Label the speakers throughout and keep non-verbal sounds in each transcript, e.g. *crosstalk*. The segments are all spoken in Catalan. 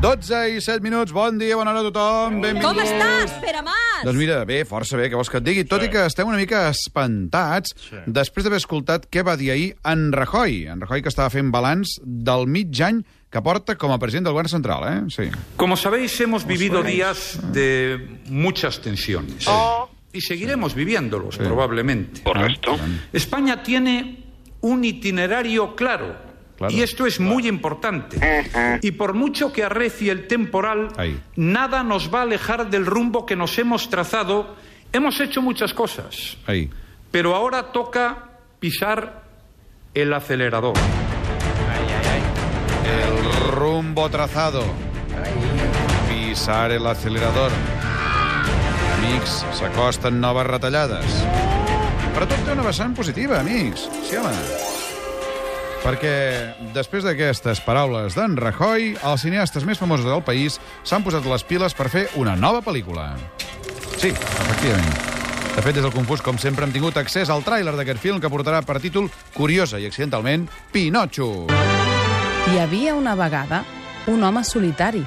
Speaker 1: 12 i 7 minuts. Bon dia, bona hora a tothom. Benvinguts.
Speaker 2: Com estàs, Pere Mas?
Speaker 1: Doncs mira, bé, força bé, què vols que et digui? Tot i que estem una mica espantats
Speaker 3: Sí.
Speaker 1: després d'haver escoltat què va dir ahir en Rajoy. En Rajoy que estava fent balanç del mig any que porta com a president del govern central, eh? Sí.
Speaker 4: Como sabéis, hemos vivido días de muchas tensiones. Y seguiremos viviéndolos, probablemente.
Speaker 5: Correcto.
Speaker 4: España tiene un itinerario claro.
Speaker 1: Claro.
Speaker 4: Y esto es muy importante. Y por mucho que arrecie el temporal,
Speaker 1: Ahí.
Speaker 4: nada nos va a alejar del rumbo que nos hemos trazado. Hemos hecho muchas cosas,
Speaker 1: Ahí.
Speaker 4: pero ahora toca pisar el acelerador.
Speaker 1: Rumbo trazado. Pisar el acelerador. Amics, s'acosten noves retallades. Però tot té una vessant positiva, amics. Sí, home. Perquè després d'aquestes paraules d'en Rajoy, els cineastes més famosos del país s'han posat les piles per fer una nova pel·lícula. Sí, efectivament. De fet, des del Confús, com sempre, hem tingut accés al tràiler d'aquest film que portarà per títol, curiosa i accidentalment, Pinocho.
Speaker 6: Hi havia una vegada un home solitari,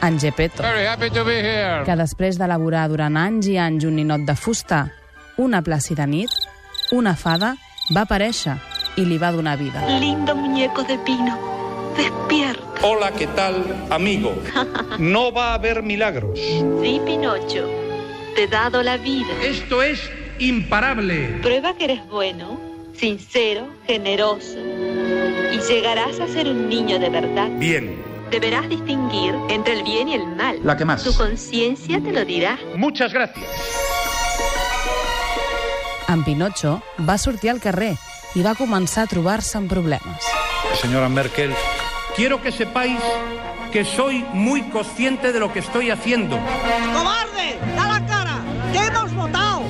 Speaker 6: en Gepetto, que després d'elaborar durant anys i anys un ninot de fusta, una plàcida nit, una fada va aparèixer i li va donar vida.
Speaker 7: Lindo muñeco de pino, despierta.
Speaker 4: Hola, ¿qué tal, *laughs* amigo? No va a haber milagros.
Speaker 7: Sí, Pinocho, te he dado la vida.
Speaker 4: Esto es imparable.
Speaker 7: Prueba que eres bueno, sincero, generoso. Y llegarás a ser un niño de verdad.
Speaker 4: Bien.
Speaker 7: Deberás distinguir entre el bien y el mal.
Speaker 4: La que más.
Speaker 7: Tu conciencia te lo dirá.
Speaker 4: Muchas gracias.
Speaker 6: En Pinocho va sortir al carrer i va començar a trobar-se amb problemes.
Speaker 4: Señora Merkel,
Speaker 3: Quiero que sepáis que soy muy consciente de lo que estoy haciendo.
Speaker 8: ¡Cobarde! ¡Da la cara! ¡Te hemos votado!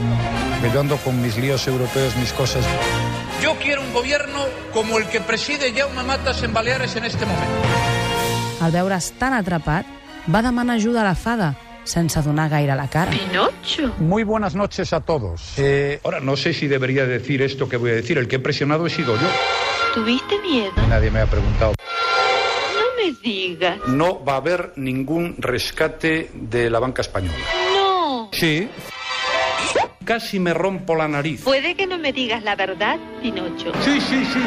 Speaker 9: Me yo ando con mis líos europeos, mis cosas.
Speaker 4: yo quiero un gobierno como el que preside Jaume Matas en Baleares en este momento.
Speaker 6: Al veure's tan atrapat, va demanar ajuda a la fada, sense donar gaire la cara.
Speaker 7: Pinocho.
Speaker 9: Muy buenas noches a todos. Eh,
Speaker 4: Ahora, no sé si debería decir esto que voy a decir. El que he presionado he sido yo.
Speaker 7: ¿Tuviste miedo?
Speaker 9: nadie me ha preguntado.
Speaker 7: No me digas.
Speaker 4: No va a haber ningún rescate de la banca española.
Speaker 7: No.
Speaker 4: Sí. Casi me rompo la nariz.
Speaker 7: Puede que no me digas la verdad, Pinocho.
Speaker 4: Sí, sí, sí.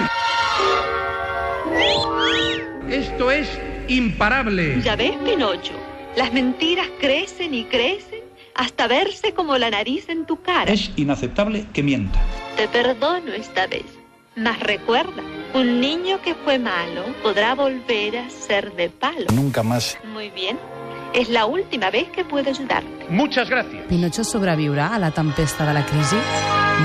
Speaker 3: Esto es imparable.
Speaker 7: Ya ves, Pinocho, las mentiras crecen y crecen hasta verse como la nariz en tu cara.
Speaker 4: Es inaceptable que mienta.
Speaker 7: Te perdono esta vez, mas recuerda, un niño que fue malo podrá volver a ser de palo.
Speaker 9: Nunca más.
Speaker 7: Muy bien, es la última vez que puedo ayudarte.
Speaker 3: Muchas gracias.
Speaker 6: Pinocho sobreviurà a la tempesta de la crisi?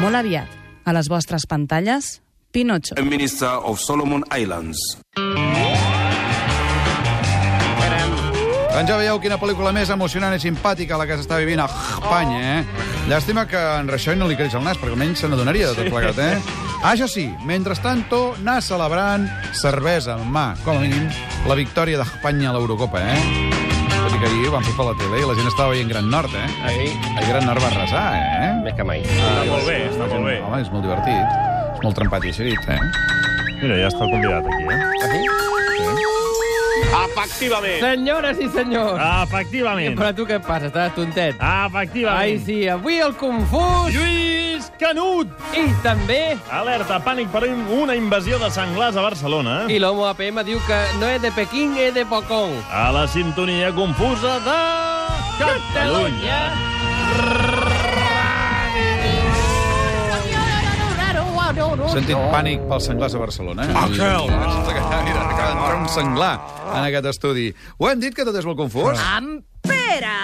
Speaker 6: Molt aviat, a les vostres pantalles, Pinocho.
Speaker 10: Minister of Solomon Islands.
Speaker 1: Doncs ja veieu quina pel·lícula més emocionant i simpàtica la que s'està vivint a Espanya, eh? Llàstima que en Rajoy no li creix el nas, perquè almenys se n'adonaria de tot plegat, eh? Ah, això sí, mentrestant, anar celebrant cervesa en mà, com a mínim, la victòria d'Espanya a l'Eurocopa, eh? Tot i que ahir ho van fer per la tele i la gent estava veient Gran Nord, eh?
Speaker 3: Ahí,
Speaker 1: El Gran Nord va arrasar, eh?
Speaker 3: més que mai. Està molt bé, està molt bé.
Speaker 1: Home, és molt divertit. És molt trempat i eixerit, eh?
Speaker 11: Mira, ja està el convidat aquí, eh?
Speaker 3: Efectivament.
Speaker 8: Senyores i senyors,
Speaker 11: Ah, Efectivament.
Speaker 8: però tu què et passa? Estàs tontet.
Speaker 11: Efectivament.
Speaker 8: Ai, sí, avui el confús
Speaker 11: Lluís Canut!
Speaker 8: i també...
Speaker 11: Alerta, pànic per una invasió de senglars a Barcelona.
Speaker 8: I l'homo APM diu que no és de Pequín, és de Pocón.
Speaker 11: A la sintonia confusa de... Catalunya!
Speaker 1: Sentit pànic pels senglars a Barcelona. Ah, que Mira, acaba d'entrar un senglar en aquest estudi. Ho hem dit que tot és molt confús?
Speaker 2: Amb Pere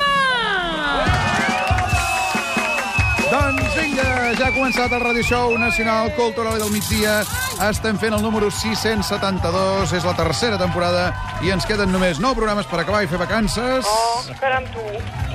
Speaker 2: Mas!
Speaker 1: Doncs vinga, ja ha començat el Radio Show Nacional Cultural del migdia. Estem fent el número 672, és la tercera temporada i ens queden només 9 programes per acabar i fer vacances.
Speaker 8: Caram, tu.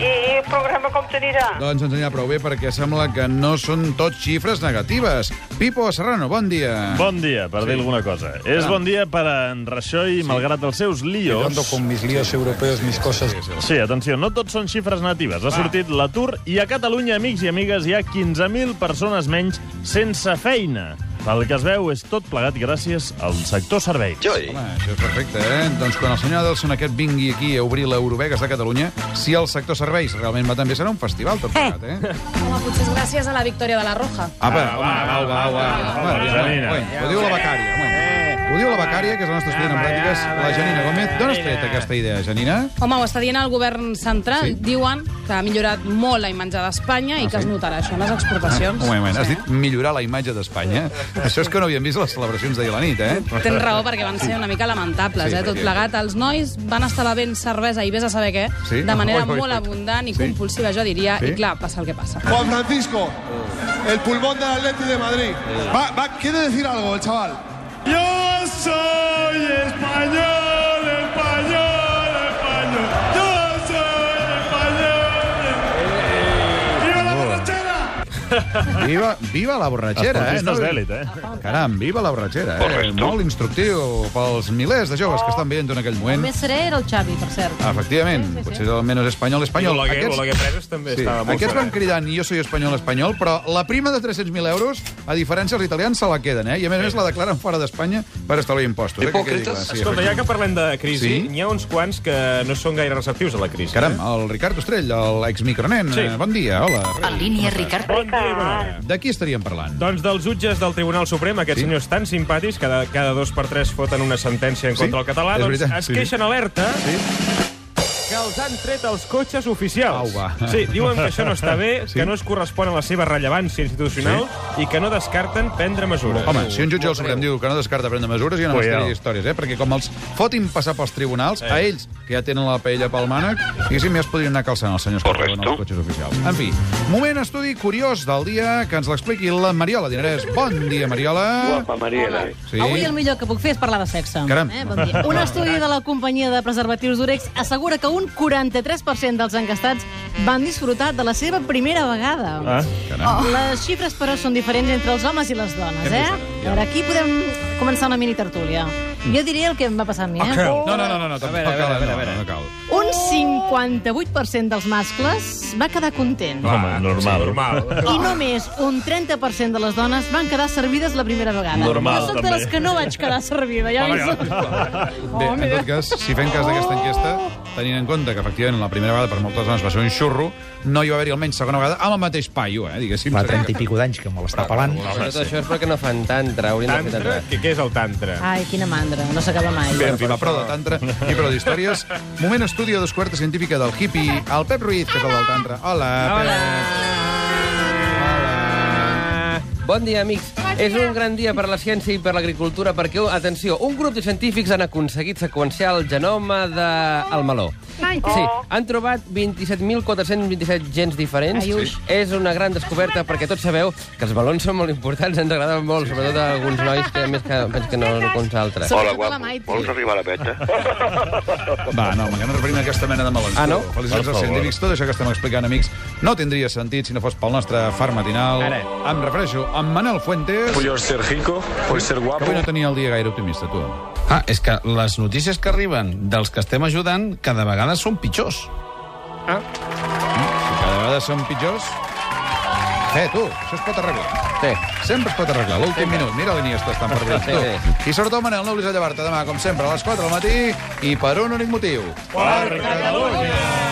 Speaker 8: I el programa com t'anirà?
Speaker 1: Doncs ens anirà prou bé perquè sembla que no són tot xifres negatives. Pipo Serrano, bon dia.
Speaker 11: Bon dia, per sí. dir alguna cosa. És bon dia per a en Rajoy, sí. malgrat els seus
Speaker 9: Yo
Speaker 11: líos.
Speaker 9: ando con mis líos europeos, mis cosas.
Speaker 11: Sí, atenció, no tot són xifres natives. Ha sortit l'atur i a Catalunya, amics i amigues, hi ha 15.000 persones menys sense feina. El que es veu és tot plegat gràcies al sector serveis.
Speaker 1: Joy. Home, això és perfecte, eh? Doncs quan el senyor Adelson aquest vingui aquí a obrir l'Eurovegas de Catalunya, si el sector serveis realment va també serà un festival tot plegat, eh?
Speaker 6: Home, potser és gràcies a la victòria de la Roja.
Speaker 1: Apa, home, va, va, va. Home,
Speaker 11: va, Janina.
Speaker 1: home, Ho Eh. diu la becària, home. Ho diu la becària, que és la nostra estudiant en pràctiques, la Janina Gómez. D'on has tret aquesta idea, Janina?
Speaker 6: Home, ho està dient el govern central.
Speaker 1: Sí. Ah,
Speaker 6: Diuen que ha millorat molt la imatge d'Espanya i que es notarà això en les exportacions.
Speaker 1: Un moment, un moment. Has
Speaker 6: Sí.
Speaker 1: dit millorar la imatge d'Espanya. Això és que no havíem vist les celebracions d'ahir a la nit, eh?
Speaker 6: Tens raó, perquè van ser una mica lamentables,
Speaker 1: Sí,
Speaker 6: eh, tot
Speaker 1: perquè-
Speaker 6: plegat. Els nois van estar bevent cervesa i vés a saber què,
Speaker 1: Sí?
Speaker 6: de manera
Speaker 1: Oi, oi,
Speaker 6: molt
Speaker 1: oi.
Speaker 6: abundant i
Speaker 1: Sí.
Speaker 6: compulsiva, jo diria,
Speaker 1: Sí?
Speaker 6: i clar, passa el que passa.
Speaker 5: Juan Francisco, el pulmón del Atleti de Madrid.
Speaker 1: Eh.
Speaker 5: Va, va, quiere decir algo el chaval. Yo soy español, español, español. Yo soy español. ¡Viva la borrachera!
Speaker 1: Viva, viva la borratxera, eh?
Speaker 11: Esportistes d'èlit, eh?
Speaker 1: Caram, viva la borratxera, eh? Molt instructiu pels milers de joves que estan veient en aquell moment.
Speaker 12: Mestre era el Xavi, per cert.
Speaker 1: Ah, Efectivament, potser el menys espanyol, espanyol.
Speaker 13: Oleguer- Oleguer Preses també estava molt
Speaker 1: Aquests
Speaker 13: fort,
Speaker 1: van
Speaker 13: eh?
Speaker 1: cridant, jo soy espanyol, espanyol, però la prima de 300.000 euros, a diferència dels italians, se la queden, eh? I a més a més la declaren fora d'Espanya per estalviar impostos. eh? Que quedi clar, sí,
Speaker 13: Escolta, ja que parlem de crisi,
Speaker 1: Sí?
Speaker 13: n'hi ha uns quants que no són gaire receptius a la crisi. eh?
Speaker 1: Caram, el Ricard Ostrell, l'exmicronen.
Speaker 13: Sí.
Speaker 1: eh, Bon dia, hola.
Speaker 13: En línia, Ricard. Bon dia, i bona hora.
Speaker 1: De qui estaríem parlant?
Speaker 13: Doncs dels jutges del Tribunal Suprem, aquests sí? senyors tan simpàtics, cada, cada dos per tres foten una sentència en
Speaker 1: Sí?
Speaker 13: contra del català,
Speaker 1: És
Speaker 13: doncs
Speaker 1: veritat,
Speaker 13: es
Speaker 1: sí.
Speaker 13: queixen alerta sí? que els han tret els cotxes oficials.
Speaker 1: Au, va.
Speaker 13: Sí, diuen que això no està bé,
Speaker 1: *laughs* Sí.
Speaker 13: sí? que no es correspon a la seva rellevància institucional sí? i que no descarten prendre mesures.
Speaker 1: Home, si un jutge del Suprem diu que no descarta prendre mesures, hi ha una
Speaker 13: Cuidao.
Speaker 1: sèrie d'històries, eh? Perquè com els fotin passar pels tribunals, a ells, que ja tenen la paella pel mànec, diguéssim, ja es podrien anar calçant els senyors que volen els cotxes oficials. En fi, moment estudi curiós del dia que ens l'expliqui la Mariola Dinerès. Bon dia, Mariola. Guapa, Mariola. Sí.
Speaker 12: Avui el millor que puc fer és parlar de sexe.
Speaker 1: Caram.
Speaker 12: Eh? Bon dia.
Speaker 1: *laughs*
Speaker 12: Un estudi de la companyia de preservatius d'Urex assegura que un 43% dels encastats van disfrutar de la seva primera vegada.
Speaker 11: Ah,
Speaker 12: Oh. Les xifres, però, són diferents entre els homes i les dones,
Speaker 1: Què
Speaker 12: eh?
Speaker 1: passa? Ja. Mm.
Speaker 12: Ara, aquí podem començar una mini tertúlia. Jo diré el que em va passar a mi, eh?
Speaker 1: No, no, no, no, no, tampoc cal, no, no, no cal.
Speaker 12: Un 58% dels mascles va quedar content.
Speaker 11: Home, normal.
Speaker 13: Sí,
Speaker 12: I només un 30% de les dones van quedar servides la primera vegada.
Speaker 11: Normal,
Speaker 12: jo soc de
Speaker 11: també.
Speaker 12: les que no vaig quedar servida, ja ves.
Speaker 1: Bé, en tot cas, si fem cas d'aquesta enquesta, tenint en compte que, efectivament, la primera vegada per moltes dones va ser un xurro, no hi va haver-hi almenys segona vegada amb el mateix paio, eh, diguéssim.
Speaker 14: Fa
Speaker 1: Seria
Speaker 14: 30 i
Speaker 1: que-
Speaker 14: pico d'anys que me l'està pelant.
Speaker 1: Home,
Speaker 15: Tot això és perquè no fan tantra, haurien de fer
Speaker 13: Tantra?
Speaker 15: tantra.
Speaker 13: Què, què és el tantra?
Speaker 12: Ai, quina mandra, no s'acaba mai.
Speaker 1: Bé, en fi, va, prou de tantra i prou d'històries. Moment estudi a dos quartes científica del hippie, el Pep Ruiz, que és el del tantra. Hola, Hola.
Speaker 15: Bon dia, amics. És un gran dia per la ciència i per l'agricultura perquè, atenció, un grup de científics han aconseguit seqüenciar el genoma del de... el meló. Sí, han trobat 27.427 gens diferents.
Speaker 12: Ai, uix.
Speaker 15: És una gran descoberta perquè tots sabeu que els melons són molt importants, ens agraden molt, sobretot a alguns nois que més que, més que no, no com uns altres.
Speaker 12: Hola, guapo. Vols
Speaker 15: arribar a la peta?
Speaker 1: Pep. Va, no, home, que no referim a aquesta mena de melons.
Speaker 15: Ah, no?
Speaker 1: Tu, Felicitats
Speaker 15: Per
Speaker 1: als
Speaker 15: favor.
Speaker 1: científics. Tot això que estem explicant, amics, no tindria sentit si no fos pel nostre far matinal.
Speaker 15: Ara.
Speaker 1: Em refereixo a en Manel Fuentes.
Speaker 16: Puyo ser rico, puyo ser
Speaker 1: Que
Speaker 16: guapo.
Speaker 1: avui no tenia el dia gaire optimista, tu.
Speaker 17: Ah, és que les notícies que arriben dels que estem ajudant cada vegada són pitjors.
Speaker 1: Ah. Mm? Si cada vegada són pitjors... Eh, tu, això es pot arreglar. Sí. Sempre es pot arreglar. L'últim minut, mira l'Iniesta, estan per dins, tu. *laughs*
Speaker 15: Sí,
Speaker 1: I sobretot, Manel, no oblidis de llevar-te demà, com sempre, a les 4 del matí i per un únic motiu.
Speaker 15: Per Catalunya!